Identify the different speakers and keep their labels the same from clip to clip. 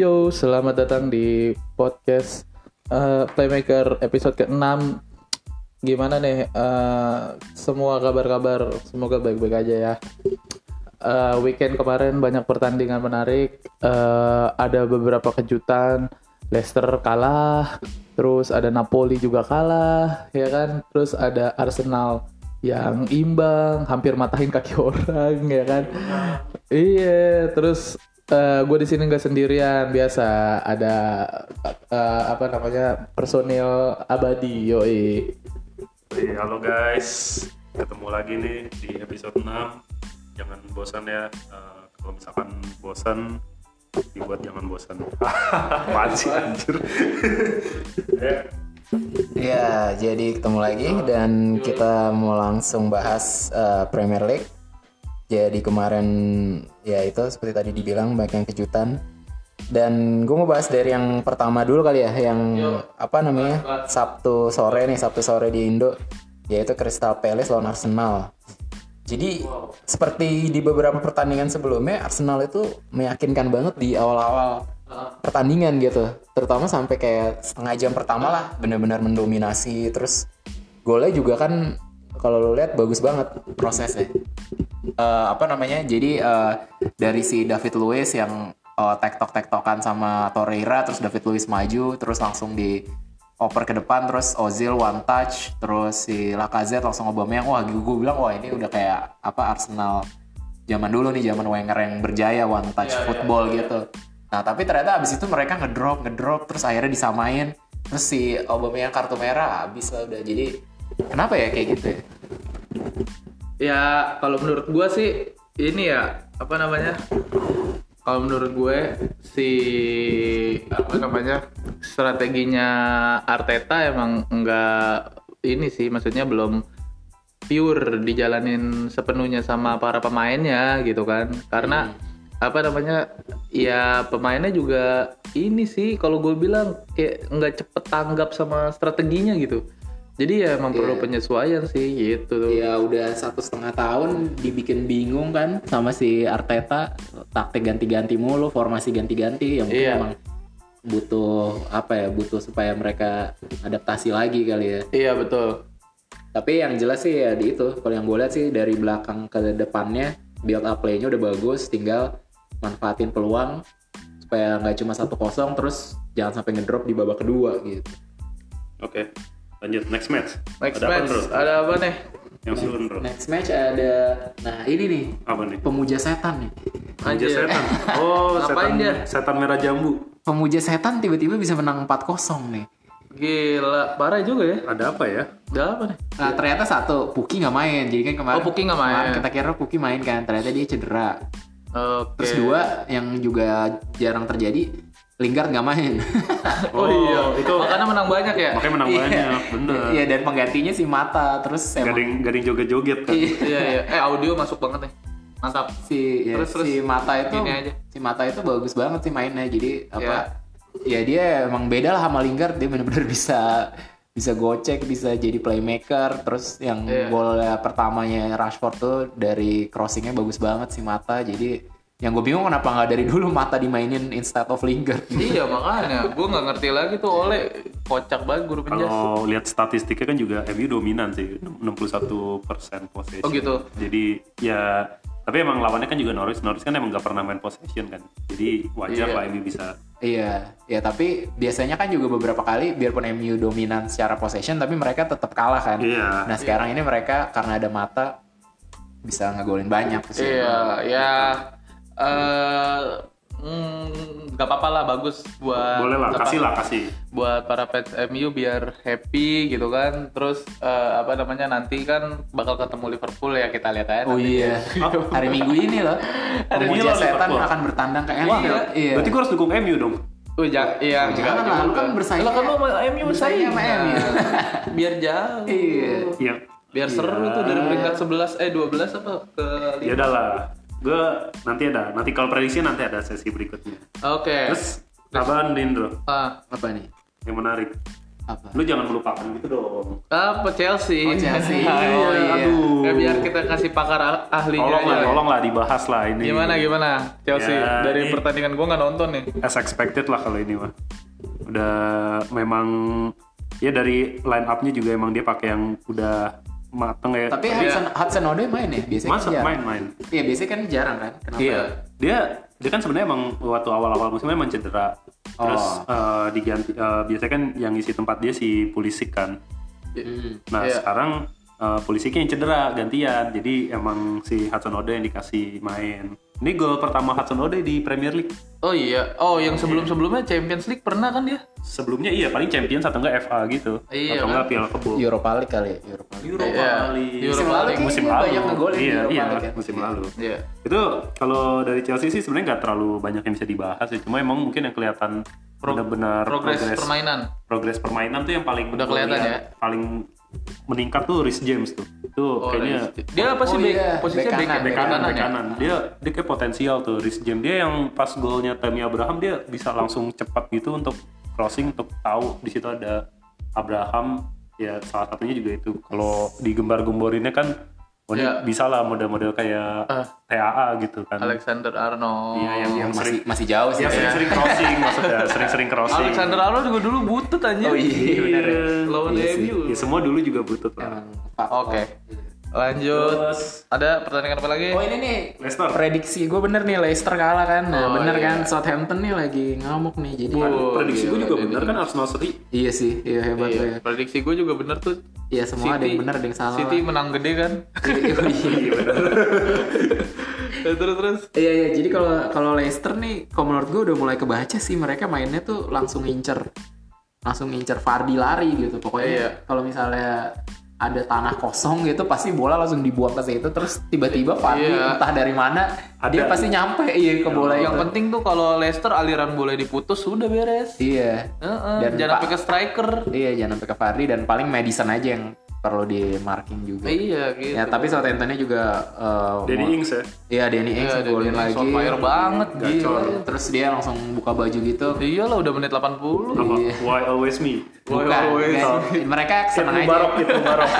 Speaker 1: Yo, selamat datang di podcast eh, Playmaker episode ke-6 Gimana nih, eh, semua kabar-kabar, semoga baik-baik aja ya Eh, Weekend kemarin banyak pertandingan menarik, Eh, ada beberapa kejutan Leicester kalah, terus ada Napoli juga kalah, ya kan? Terus ada Arsenal yang imbang, hampir matahin kaki orang, ya kan? Iya, terus gue di sini nggak sendirian, biasa ada eh, apa namanya personil abadi, yoi.
Speaker 2: Hey, Iya, halo guys, ketemu lagi nih di episode 6 Jangan bosan ya, Eh, kalau misalkan bosan dibuat jangan bosan Apaan sih anjir Eh,
Speaker 3: Ya, jadi ketemu lagi dan kita mau langsung bahas eh, Premier League. Jadi kemarin ya itu seperti tadi dibilang banyak yang kejutan. Dan gue mau bahas dari yang pertama dulu kali ya, yang apa namanya Sabtu sore nih, Sabtu sore di Indo, yaitu Crystal Palace lawan Arsenal. Jadi seperti di beberapa pertandingan sebelumnya, Arsenal itu meyakinkan banget di awal-awal pertandingan gitu terutama sampai kayak setengah jam pertama lah benar-benar mendominasi terus golnya juga kan kalau lo lihat bagus banget prosesnya Eh, apa namanya jadi eh, dari si David Luiz yang eh, tektok tektokan sama Torreira terus David Luiz maju terus langsung di oper ke depan terus Ozil one touch terus si Lacazette langsung Aubameyang wah gue bilang wah ini udah kayak apa Arsenal zaman dulu nih zaman Wenger yang berjaya one touch football gitu nah tapi ternyata abis itu mereka ngedrop ngedrop terus akhirnya disamain terus si Aubameyang kartu merah abis lah udah jadi kenapa ya kayak gitu ya?
Speaker 1: Ya kalau menurut gue sih ini ya apa namanya? Kalau menurut gue si apa namanya strateginya Arteta emang enggak ini sih maksudnya belum pure dijalanin sepenuhnya sama para pemainnya gitu kan karena apa namanya ya pemainnya juga ini sih kalau gue bilang kayak nggak cepet tanggap sama strateginya gitu jadi ya emang perlu penyesuaian sih gitu tuh
Speaker 4: Ya udah satu setengah tahun dibikin bingung kan sama si Arteta taktik ganti-ganti mulu, formasi ganti-ganti yang mungkin
Speaker 1: Iya.
Speaker 4: emang butuh apa ya butuh supaya mereka adaptasi lagi kali ya.
Speaker 1: Iya betul.
Speaker 4: Tapi yang jelas sih ya di itu kalau yang gue lihat sih dari belakang ke depannya build up play-nya udah bagus, tinggal manfaatin peluang supaya nggak cuma satu kosong terus jangan sampai ngedrop di babak kedua gitu.
Speaker 2: Oke, lanjut next match
Speaker 1: Next
Speaker 2: Ada apa
Speaker 1: match
Speaker 2: terus?
Speaker 1: ada apa nih?
Speaker 2: Yang seru terus
Speaker 4: Next match ada nah ini nih
Speaker 2: Apa nih?
Speaker 4: pemuja setan nih.
Speaker 1: Anjir.
Speaker 2: Anjir setan Oh, setan,
Speaker 1: Ngapain dia?
Speaker 2: setan merah jambu
Speaker 4: pemuja setan tiba-tiba bisa menang 4-0 nih.
Speaker 1: Gila, parah juga ya.
Speaker 2: Ada apa ya?
Speaker 1: Ada apa nih?
Speaker 4: Nah, ternyata satu Puki nggak main, jadi kan kemarin
Speaker 1: Iya. Oh, Puki nggak main.
Speaker 4: kemarin Kita kira Puki main kan, ternyata dia cedera.
Speaker 1: Oke.
Speaker 4: Terus dua yang juga jarang terjadi, Lingard nggak main.
Speaker 1: Oh, iya,
Speaker 2: Oh,
Speaker 1: itu makanya menang banyak ya.
Speaker 2: Makanya menang banyak, bener
Speaker 4: Iya dan penggantinya si Mata, terus emang
Speaker 2: Garing, garing joget-joget kan
Speaker 1: iya iya. Eh audio masuk banget nih. Mantap.
Speaker 4: si ya,
Speaker 1: Terus, terus.
Speaker 4: si Mata itu
Speaker 1: Gini aja.
Speaker 4: si Mata itu bagus banget sih mainnya, jadi apa? Ya dia emang beda lah sama Lingard, dia benar-benar bisa bisa gocek, bisa jadi playmaker, terus yang
Speaker 1: Iya.
Speaker 4: gol pertamanya Rashford tuh dari crossingnya bagus banget si Mata, jadi yang gue bingung kenapa nggak dari dulu Mata dimainin instead of Lingard.
Speaker 1: iya makanya, gue nggak ngerti lagi tuh oleh kocak banget guru penjas.
Speaker 2: Kalau lihat statistiknya kan juga MU dominan sih 61% possession.
Speaker 1: Oh, gitu.
Speaker 2: Jadi ya tapi emang lawannya kan juga Norwich. Norwich kan emang gak pernah main possession kan. Jadi wajar
Speaker 1: Iya.
Speaker 2: lah MU bisa.
Speaker 4: Iya, ya tapi biasanya kan juga beberapa kali biarpun MU dominan secara possession tapi mereka tetap kalah kan.
Speaker 2: Iya.
Speaker 4: Nah sekarang ini mereka karena ada Mata bisa ngegolin banyak sih.
Speaker 1: Iya, ya. Eh, mm, nggak apa-apa lah, bagus buat.
Speaker 2: Boleh lah,
Speaker 1: apa-
Speaker 2: kasih lah kasih.
Speaker 1: buat para fans MU biar happy gitu kan terus eh, apa namanya nanti kan bakal ketemu Liverpool ya kita lihat aja
Speaker 4: Oh
Speaker 1: nanti.
Speaker 4: iya. Hari Minggu ini loh.
Speaker 2: Hari Minggu
Speaker 4: Pemuja
Speaker 2: lawan
Speaker 4: setan
Speaker 2: Liverpool.
Speaker 4: akan bertandang ke Anfield. Iya.
Speaker 2: Berarti gua harus dukung MU dong.
Speaker 1: Oh, jangan, iya, Nah.
Speaker 4: jangan lah, lu kan bersaing.
Speaker 1: Lah kan lu sama MU bersaing. ya.
Speaker 4: Bersaing sama MU.
Speaker 1: Biar jauh.
Speaker 4: Iya.
Speaker 2: Iya.
Speaker 1: Biar seru tuh dari peringkat 11 eh 12 apa ke
Speaker 2: Ya udah lah. Gue nanti ada. Nanti kalau prediksi nanti ada sesi berikutnya.
Speaker 1: Oke.
Speaker 2: Terus apaan Lindro?
Speaker 1: Ah,
Speaker 4: Apa nih?
Speaker 2: Yang menarik.
Speaker 4: Apa?
Speaker 2: Lu jangan melupakan gitu dong.
Speaker 1: apa Chelsea?
Speaker 4: Oh, Chelsea.
Speaker 1: Iya.
Speaker 4: Oh, iya.
Speaker 2: Aduh.
Speaker 1: Eh, Ya biar kita kasih pakar ah- ahlinya
Speaker 2: Tolong
Speaker 1: aja.
Speaker 2: lah,
Speaker 1: lah.
Speaker 2: tolong lah dibahas lah ini.
Speaker 1: Gimana gimana Chelsea
Speaker 2: Ya,
Speaker 1: dari
Speaker 2: ini-
Speaker 1: pertandingan gua nggak nonton nih.
Speaker 2: as expected lah kalau ini mah udah memang ya dari line up-nya juga emang dia pakai yang udah mateng ya
Speaker 4: Tapi
Speaker 1: Iya.
Speaker 4: Hudson, Hudson Odoi main ya biasanya. kan
Speaker 2: masa
Speaker 4: jarang.
Speaker 2: main-main
Speaker 4: Iya biasanya kan jarang kan. Kenapa?
Speaker 2: dia dia kan sebenarnya emang waktu awal-awal musimnya emang cedera terus eh, diganti eh, biasanya kan yang isi tempat dia si Pulisic kan
Speaker 4: Hmm.
Speaker 2: nah
Speaker 1: Iya.
Speaker 2: sekarang eh, Pulisiknya yang cedera gantian jadi emang si Hudson Odoi yang dikasih main ini gol pertama Hudson Odoi di Premier League
Speaker 1: Oh iya. Oh yang sebelum sebelumnya Champions League pernah kan dia?
Speaker 2: sebelumnya iya paling Champions atau enggak FA gitu
Speaker 1: Iya,
Speaker 2: atau
Speaker 1: kan?
Speaker 2: enggak Piala Kebo
Speaker 3: Europa League kali ya, Europa League.
Speaker 2: Europa
Speaker 1: Iya.
Speaker 2: League.
Speaker 1: Musim lalu
Speaker 2: League. musim
Speaker 4: kayaknya
Speaker 2: lalu
Speaker 4: banyak ngegolin di
Speaker 2: iya,
Speaker 4: Europa
Speaker 2: iya,
Speaker 4: League ya.
Speaker 2: musim lalu
Speaker 1: Iya.
Speaker 2: itu kalau dari Chelsea sih sebenarnya nggak terlalu banyak yang bisa dibahas ya cuma emang mungkin yang kelihatan benar-benar
Speaker 1: Progres permainan.
Speaker 2: progres permainan tuh yang paling
Speaker 1: Udah kelihatan ya.
Speaker 2: gua lihat, paling meningkat tuh Rhys James tuh itu
Speaker 1: Oh,
Speaker 2: kayaknya
Speaker 1: Rich. dia apa sih
Speaker 3: Oh,
Speaker 1: back-
Speaker 3: iya.
Speaker 1: posisinya
Speaker 3: Back
Speaker 1: back
Speaker 3: kanan,
Speaker 2: bek
Speaker 1: back
Speaker 2: kanan
Speaker 1: kanan
Speaker 2: bek
Speaker 1: ya?
Speaker 2: kanan dia dia kayak potensial tuh Rhys James dia yang pas golnya Tammy Abraham dia bisa langsung cepat gitu untuk crossing untuk tahu di situ ada Abraham ya salah satunya juga itu kalau digembar-gemborinnya kan oh ini
Speaker 1: Iya.
Speaker 2: bisa lah model-model kayak
Speaker 1: Ah.
Speaker 2: TAA gitu kan
Speaker 1: Alexander Arnold.
Speaker 2: Iya, yang yang
Speaker 4: Masih,
Speaker 2: sering
Speaker 4: masih jauh sih.
Speaker 2: yang
Speaker 4: ya.
Speaker 2: sering-sering crossing maksudnya sering-sering crossing
Speaker 1: Alexander Arnold juga dulu butut aja.
Speaker 4: Oh iya, benar ya.
Speaker 1: Lawan Iya.
Speaker 4: Iya sih.
Speaker 1: MU.
Speaker 2: ya semua dulu juga butuh lah
Speaker 1: Oke. Lanjut.
Speaker 2: terus
Speaker 1: Ada pertandingan apa lagi?
Speaker 4: Oh
Speaker 3: iya.
Speaker 4: ini nih
Speaker 2: Leicester
Speaker 4: prediksi gue bener nih Leicester kalah kan. Nah,
Speaker 1: Oh,
Speaker 4: bener
Speaker 1: iya.
Speaker 4: kan Southampton nih lagi ngamuk nih jadi.
Speaker 1: Oh,
Speaker 2: prediksi gue
Speaker 1: gila,
Speaker 2: juga
Speaker 1: dia
Speaker 2: bener kan Arsenal seri
Speaker 4: Iya sih, iya hebat
Speaker 1: Iya,
Speaker 4: lo ya.
Speaker 1: prediksi gue juga bener tuh.
Speaker 4: Iya semua ada yang bener ada yang salah.
Speaker 1: City menang gede kan?
Speaker 2: iya bener
Speaker 1: Eh, terus terus.
Speaker 4: Iya iya jadi kalau kalau Leicester nih kalau menurut gue udah mulai kebaca sih mereka mainnya tuh langsung ngincer langsung ngincer Fardi lari gitu pokoknya
Speaker 1: Iya.
Speaker 4: kalau misalnya ada tanah kosong gitu pasti bola langsung dibuang ke situ terus tiba-tiba Fardi
Speaker 1: Iya.
Speaker 4: entah dari mana dia
Speaker 2: Ada.
Speaker 4: pasti nyampe iya ke bola
Speaker 1: Yang
Speaker 4: itu.
Speaker 1: penting tuh kalau Leicester aliran bola diputus sudah beres.
Speaker 4: Iya.
Speaker 1: Heeh,
Speaker 4: Dan
Speaker 1: jangan
Speaker 4: Pak-
Speaker 1: pakai striker.
Speaker 4: Iya jangan sampai ke Fardi dan paling Madison aja yang perlu di marking juga.
Speaker 1: Iya gitu.
Speaker 4: Ya tapi Southamptonnya juga eh,
Speaker 2: Danny
Speaker 4: mau-
Speaker 2: Ings ya
Speaker 4: Iya Danny Ings
Speaker 1: Iya, Danny
Speaker 4: golin
Speaker 1: Ings
Speaker 4: lagi.
Speaker 1: on fire banget,
Speaker 4: gila. Terus dia langsung buka baju gitu.
Speaker 1: Iyalah Iya udah menit 80.
Speaker 2: apa Why Always Me
Speaker 1: Why
Speaker 4: Bukan,
Speaker 1: always?
Speaker 4: guys. mereka
Speaker 1: Iya,
Speaker 2: Kit
Speaker 4: seneng aja.
Speaker 2: Mubarok Kit Mubarok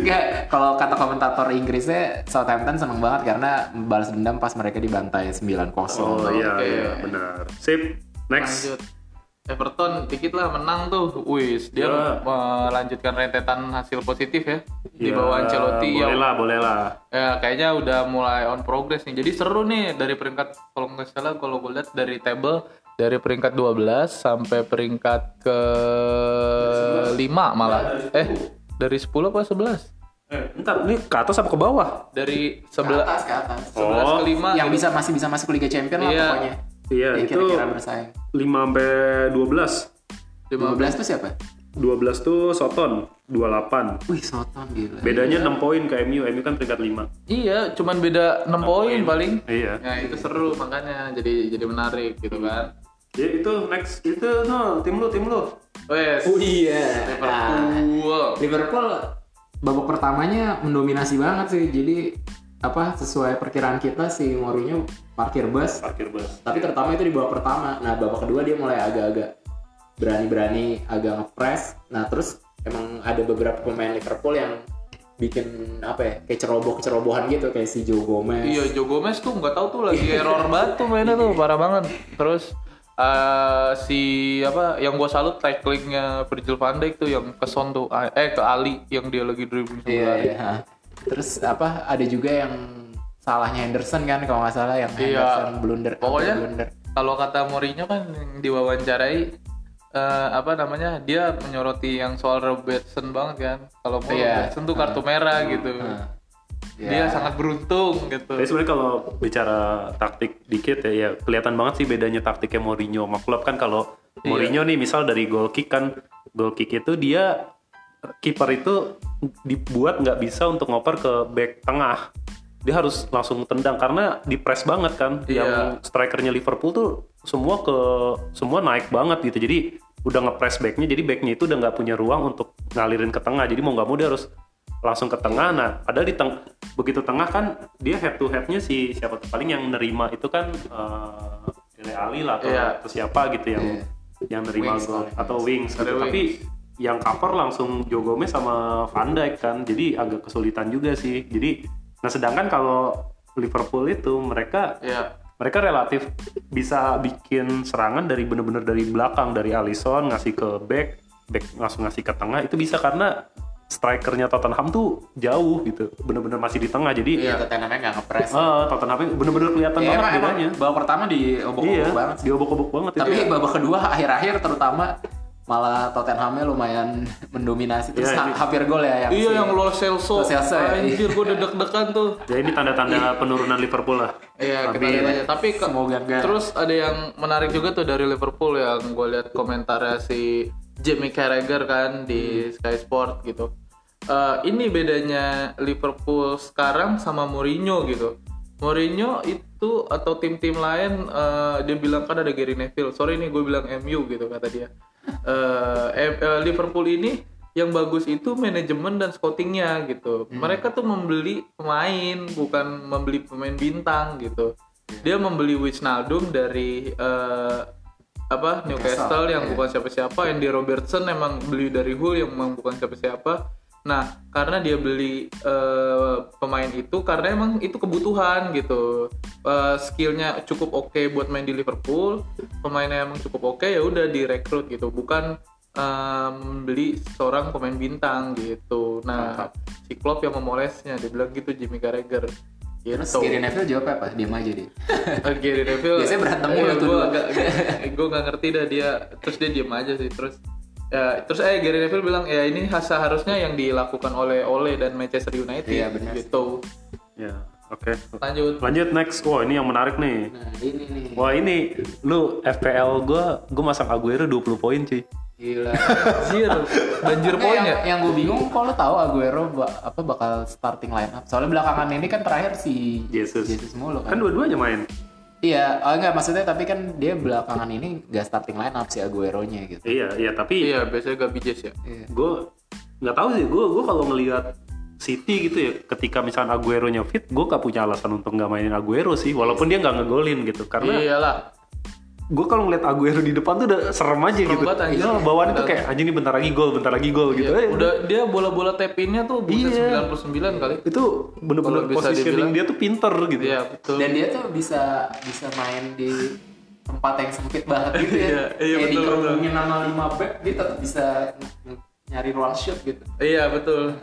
Speaker 4: Enggak, kalau kata komentator Inggrisnya Southampton seneng banget karena balas dendam pas mereka dibantai 9-0.
Speaker 2: oh iya
Speaker 1: Oke.
Speaker 2: iya benar sip next
Speaker 1: Lanjut. Everton dikit lah menang tuh. Wis, dia
Speaker 2: Ya.
Speaker 1: melanjutkan rentetan hasil positif ya. Di
Speaker 2: Ya,
Speaker 1: bawah Ancelotti
Speaker 2: boleh
Speaker 1: yang
Speaker 2: lah boleh lah
Speaker 1: Ya, kayaknya udah mulai on progress nih. Jadi seru nih dari peringkat kalau nggak salah kalau gue lihat dari table dari peringkat 12 sampai peringkat ke 5 malah. Eh, dari 10 apa 11?
Speaker 2: eh, bentar ini ke atas apa ke bawah
Speaker 1: Dari
Speaker 4: Ke
Speaker 1: 11
Speaker 4: atas, ke atas.
Speaker 1: 11 ke 5
Speaker 4: Yang bisa masih bisa masuk ke Liga Champion lah
Speaker 1: Iya.
Speaker 4: pokoknya.
Speaker 2: iya
Speaker 4: Yang
Speaker 2: itu
Speaker 4: kira-kira bersaing.
Speaker 2: 5 sampai 12
Speaker 4: 12 tuh siapa?
Speaker 2: 12 tuh Soton 28
Speaker 4: Wih, Soton gila.
Speaker 2: bedanya 6 poin ke MU MU kan peringkat 5
Speaker 1: Iya, cuman beda 6 poin paling.
Speaker 2: iya
Speaker 1: Nah, itu seru makanya jadi jadi menarik gitu kan.
Speaker 2: ya itu next itu no, tim lu tim lu
Speaker 1: Wes,
Speaker 4: Oh iya.
Speaker 1: Liverpool.
Speaker 4: Liverpool babak pertamanya mendominasi banget sih. Jadi apa sesuai perkiraan kita si Mourinho parkir bus.
Speaker 2: parkir bus
Speaker 4: Tapi terutama itu di babak pertama. Nah babak kedua dia mulai agak-agak berani-berani, agak ngepres. Nah terus emang ada beberapa pemain Liverpool yang bikin apa ya kayak ceroboh-cerobohan gitu kayak si Joe Gomez.
Speaker 1: Iya, Joe Gomez tuh nggak tahu tuh lagi error banget tuh mainnya tuh parah banget. Terus eh, si apa yang gua salut tacklingnya Virgil van Dijk tuh yang ke Son tuh eh ke Ali yang dia lagi dribbling sama
Speaker 4: Iya,
Speaker 1: Ali.
Speaker 4: iya. Terus apa ada juga yang salahnya Henderson kan kalau nggak salah yang
Speaker 1: Iya.
Speaker 4: Henderson blunder.
Speaker 1: Pokoknya
Speaker 4: blunder.
Speaker 1: kalau kata Mourinho kan yang diwawancarai eh, apa namanya dia menyoroti yang soal Robertson banget kan. Kalau mau
Speaker 4: Iya. Ah.
Speaker 1: Robertson tuh kartu merah gitu. Dia
Speaker 4: Iya.
Speaker 1: sangat beruntung gitu.
Speaker 2: Tapi sebenarnya kalau bicara taktik dikit ya, ya kelihatan banget sih bedanya taktiknya Mourinho sama Klopp kan kalau Mourinho nih misal dari goal kick kan goal kick itu dia kiper itu dibuat nggak bisa untuk ngoper ke back tengah dia harus langsung tendang karena di press banget kan
Speaker 1: Iya.
Speaker 2: yang strikernya Liverpool tuh semua ke semua naik banget gitu jadi udah ngepress backnya jadi backnya itu udah nggak punya ruang untuk ngalirin ke tengah jadi mau nggak mau dia harus langsung ke tengah nah padahal di teng begitu tengah kan dia head to headnya si siapa tuh paling yang nerima itu kan eh, Dele Ali lah atau,
Speaker 1: Iya.
Speaker 2: atau siapa gitu yang yang nerima
Speaker 4: Wings
Speaker 2: gol
Speaker 4: paling.
Speaker 2: atau wings gitu.
Speaker 1: Ada
Speaker 2: tapi yang cover langsung Joe Gomez sama Van Dijk kan jadi agak kesulitan juga sih jadi nah sedangkan kalau Liverpool itu mereka
Speaker 1: Iya.
Speaker 2: mereka relatif bisa bikin serangan dari bener-bener dari belakang dari Alisson ngasih ke back back langsung ngasih ke tengah itu bisa karena strikernya Tottenham tuh jauh gitu bener-bener masih di tengah jadi
Speaker 4: Iya, Tottenhamnya nggak ngepres.
Speaker 2: eh, Tottenham bener-bener kelihatan
Speaker 4: Ya, emang,
Speaker 2: banget
Speaker 4: emang
Speaker 2: bedanya
Speaker 4: babak pertama di
Speaker 2: iya
Speaker 4: obok-obok banget. sih.
Speaker 2: diobok-obok banget itu ya.
Speaker 4: Tapi babak kedua akhir-akhir terutama malah Tottenhamnya lumayan mendominasi terus
Speaker 2: Iya,
Speaker 4: ha-
Speaker 2: ini-
Speaker 4: hampir gol ya yang
Speaker 1: Iya
Speaker 4: si-
Speaker 1: yang Lo Celso.
Speaker 4: Lo Celso ya,
Speaker 1: Anjir gue deg-degan tuh.
Speaker 2: ya ini tanda-tanda penurunan Liverpool lah
Speaker 1: Iya, kita
Speaker 2: Tapi-
Speaker 1: lihat aja. Tapi ke-
Speaker 4: Semoga enggak.
Speaker 1: terus ada yang menarik juga tuh dari Liverpool yang gue lihat komentarnya si Jamie Carragher kan di Sky Sport gitu. Eh, ini bedanya Liverpool sekarang sama Mourinho gitu. Mourinho itu atau tim-tim lain eh, dia bilang kan ada Gary Neville. Sorry nih gue bilang MU gitu kata dia. Eh, em- eh, Liverpool ini yang bagus itu manajemen dan scoutingnya gitu. Mereka tuh membeli pemain bukan membeli pemain bintang gitu. Dia membeli Wijnaldum dari eh, apa Newcastle yang bukan siapa-siapa, Andy Robertson emang beli dari Hull yang emang bukan siapa-siapa. Nah, karena dia beli eh, pemain itu karena emang itu kebutuhan gitu. Eh, skillnya cukup oke buat main di Liverpool, pemainnya emang cukup oke ya udah direkrut gitu, bukan eh, membeli seorang pemain bintang gitu. Nah, si Klopp yang memolesnya, dia bilang gitu Jimmy Carragher. Gitu.
Speaker 4: Terus Gary Neville jawab apa? Diem aja dia.
Speaker 1: Eh, Gary Neville
Speaker 4: Biasanya berantem
Speaker 1: eh,
Speaker 4: mulu tuh
Speaker 1: gua
Speaker 4: dua.
Speaker 1: agak- gue nggak ngerti dah dia terus dia diem aja sih terus ya, terus eh Gary Neville bilang ya ini has- seharusnya yang dilakukan oleh Ole dan Manchester United
Speaker 4: Iya, benar.
Speaker 1: gitu
Speaker 2: ya oke
Speaker 1: lanjut
Speaker 2: lanjut next wah ini yang menarik nih
Speaker 4: Nah, ini nih.
Speaker 2: wah ini lu FPL gua gua masang Aguero 20 poin cuy
Speaker 4: Gila.
Speaker 1: banjir banjir
Speaker 4: Nah,
Speaker 1: poin
Speaker 4: yang,
Speaker 1: ya
Speaker 4: yang gue bingung kalau lu tahu Aguero ba- apa bakal starting line up. Soalnya belakangan ini kan terakhir si
Speaker 2: Jesus.
Speaker 4: mulu
Speaker 2: kan
Speaker 4: kan.
Speaker 2: dua-duanya main
Speaker 4: Iya, oh enggak maksudnya tapi kan dia belakangan ini gak starting line up si Aguero-nya gitu.
Speaker 2: iya iya tapi
Speaker 1: iya biasanya gak bijes ya
Speaker 4: Iya.
Speaker 2: gua nggak tahu sih gua gua kalau ngelihat City gitu ya ketika misalnya Aguero-nya fit gua gak punya alasan untuk nggak mainin Aguero sih walaupun dia nggak ngegolin gitu karena
Speaker 1: iyalah
Speaker 2: gua kalau ngeliat Aguero di depan tuh udah serem aja
Speaker 1: Serem
Speaker 2: gitu
Speaker 1: banget, anjir.
Speaker 2: Iya, bawaan itu kayak anjing ini bentar lagi gol bentar lagi gol gitu
Speaker 1: Iya,
Speaker 2: Eh,
Speaker 1: udah dia bola-bola tapinnya tuh buset
Speaker 2: Iya.
Speaker 1: 99 kali
Speaker 2: itu bener-bener
Speaker 1: Kalau bisa
Speaker 2: positioning
Speaker 1: dibilang-
Speaker 2: dia tuh pinter gitu
Speaker 1: iya betul
Speaker 4: Dan dia tuh bisa bisa main di tempat yang sempit banget gitu ya.
Speaker 1: Iya, iya,
Speaker 4: Kayak
Speaker 1: betul,
Speaker 4: dikerubungin sama lima back dia tetap bisa ng- ng- nyari ruang shoot gitu.
Speaker 1: iya betul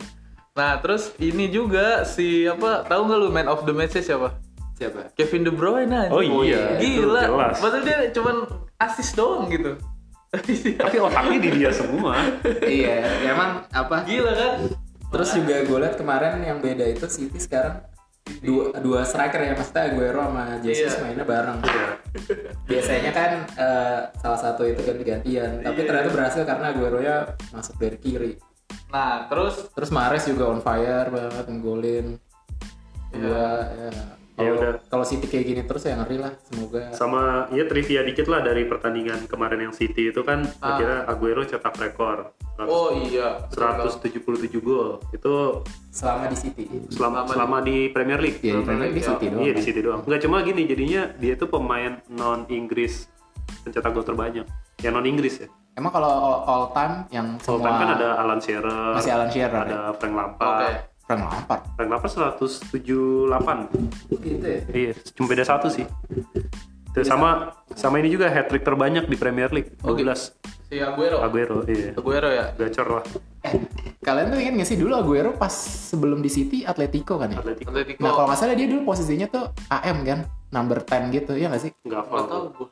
Speaker 1: nah terus ini juga si apa tahu nggak lu man of the match siapa
Speaker 4: Siapa?
Speaker 1: Kevin De Bruyne aja.
Speaker 2: Oh iya, itu
Speaker 1: Gila.
Speaker 2: jelas.
Speaker 1: Padahal dia cuman asis doang gitu.
Speaker 2: tapi otaknya di dia semua
Speaker 4: iya, emang apa?
Speaker 1: Gila kan?
Speaker 4: Terus juga gue liat kemarin yang beda itu City sekarang dua, dua striker ya maksudnya Aguero sama Jesus
Speaker 1: Iya.
Speaker 4: mainnya bareng.
Speaker 2: Iya.
Speaker 4: Biasanya kan eh, salah satu itu
Speaker 1: Iya.
Speaker 4: ganti-gantian, tapi ternyata berhasil karena Aguero-nya masuk dari kiri.
Speaker 1: Nah, terus
Speaker 4: Terus Mares juga on fire banget nggolin. Iya, ya.
Speaker 2: Ya
Speaker 4: Kalau
Speaker 2: udah.
Speaker 4: kalau City kayak gini terus ya ngeri lah, semoga.
Speaker 2: sama ya trivia dikit lah dari pertandingan kemarin yang City itu kan akhirnya Aguero cetak rekor
Speaker 1: Ah. oh iya.
Speaker 2: 177 gol itu
Speaker 4: Selama di City.
Speaker 2: selama, selama di Premier League.
Speaker 4: Ya, di Premier League City doang.
Speaker 2: Iya di City doang. Enggak cuma gini jadinya dia itu pemain non Inggris pencetak gol terbanyak. Ya non Inggris ya.
Speaker 4: Emang kalau all, all time yang
Speaker 2: All
Speaker 4: semua
Speaker 2: time kan ada Alan Shearer,
Speaker 4: masih Alan Shearer. ya?
Speaker 2: ada Frank
Speaker 1: Oke.
Speaker 2: Lampard.
Speaker 4: Frank Lampard.
Speaker 2: Frank Lampard 178.
Speaker 4: Gitu ya. Iya.
Speaker 2: Iya, cuma beda satu sih. Itu sama sama ini juga hat trick terbanyak di Premier League. 12
Speaker 1: Si Aguero.
Speaker 2: Aguero. Iya.
Speaker 1: Aguero ya.
Speaker 2: Gacor lah
Speaker 4: Eh, kalian tuh ingat nggak sih dulu Aguero pas sebelum di City Atletico kan ya?
Speaker 2: Atletico.
Speaker 1: Atletico.
Speaker 4: Nah kalau nggak salah dia dulu posisinya tuh AM kan, number 10 gitu ya nggak sih?
Speaker 2: Enggak
Speaker 1: Nggak tahu
Speaker 2: apa
Speaker 1: gue.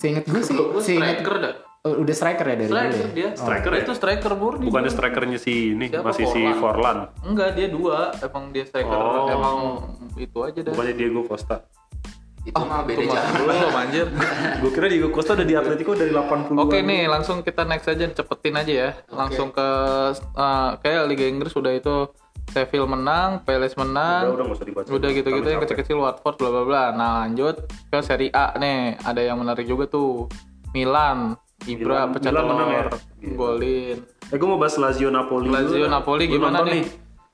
Speaker 4: Seinget gue sih,
Speaker 1: Gue
Speaker 4: seinget
Speaker 1: striker dah.
Speaker 4: Eh, udah striker ya dari
Speaker 1: Striker
Speaker 4: dulu ya?
Speaker 1: dia. Nah,
Speaker 2: Striker ya?
Speaker 1: Itu striker murni.
Speaker 2: Bukannya strikernya si ini
Speaker 1: Siapa?
Speaker 2: masih si Forlan.
Speaker 1: Enggak, dia dua. Emang dia striker.
Speaker 2: Oh.
Speaker 1: Emang itu aja dah.
Speaker 2: Bukannya Diego Costa.
Speaker 4: Itu mah beda
Speaker 1: Cuma belum anjir.
Speaker 2: Gue kira Diego Costa udah di Atletico dari 80-an.
Speaker 1: Oke nih, langsung kita next aja cepetin aja ya. Langsung ke eh, kayak Liga Inggris udah itu Sheffield menang, Palace menang.
Speaker 2: Udah, udah nggak usah dibaca.
Speaker 1: Udah gitu-gitu yang kecil-kecil Watford bla bla bla. Nah, lanjut ke Serie A nih. Ada yang menarik juga tuh. Milan, Ibra
Speaker 2: Milan-
Speaker 1: pecah
Speaker 2: Milan menang
Speaker 1: telur,
Speaker 2: ya? Iya.
Speaker 1: golin.
Speaker 2: Eh gue mau bahas Lazio Napoli.
Speaker 1: Lazio
Speaker 2: dulu.
Speaker 1: Napoli
Speaker 2: Lu
Speaker 1: gimana
Speaker 2: nonton
Speaker 1: nih?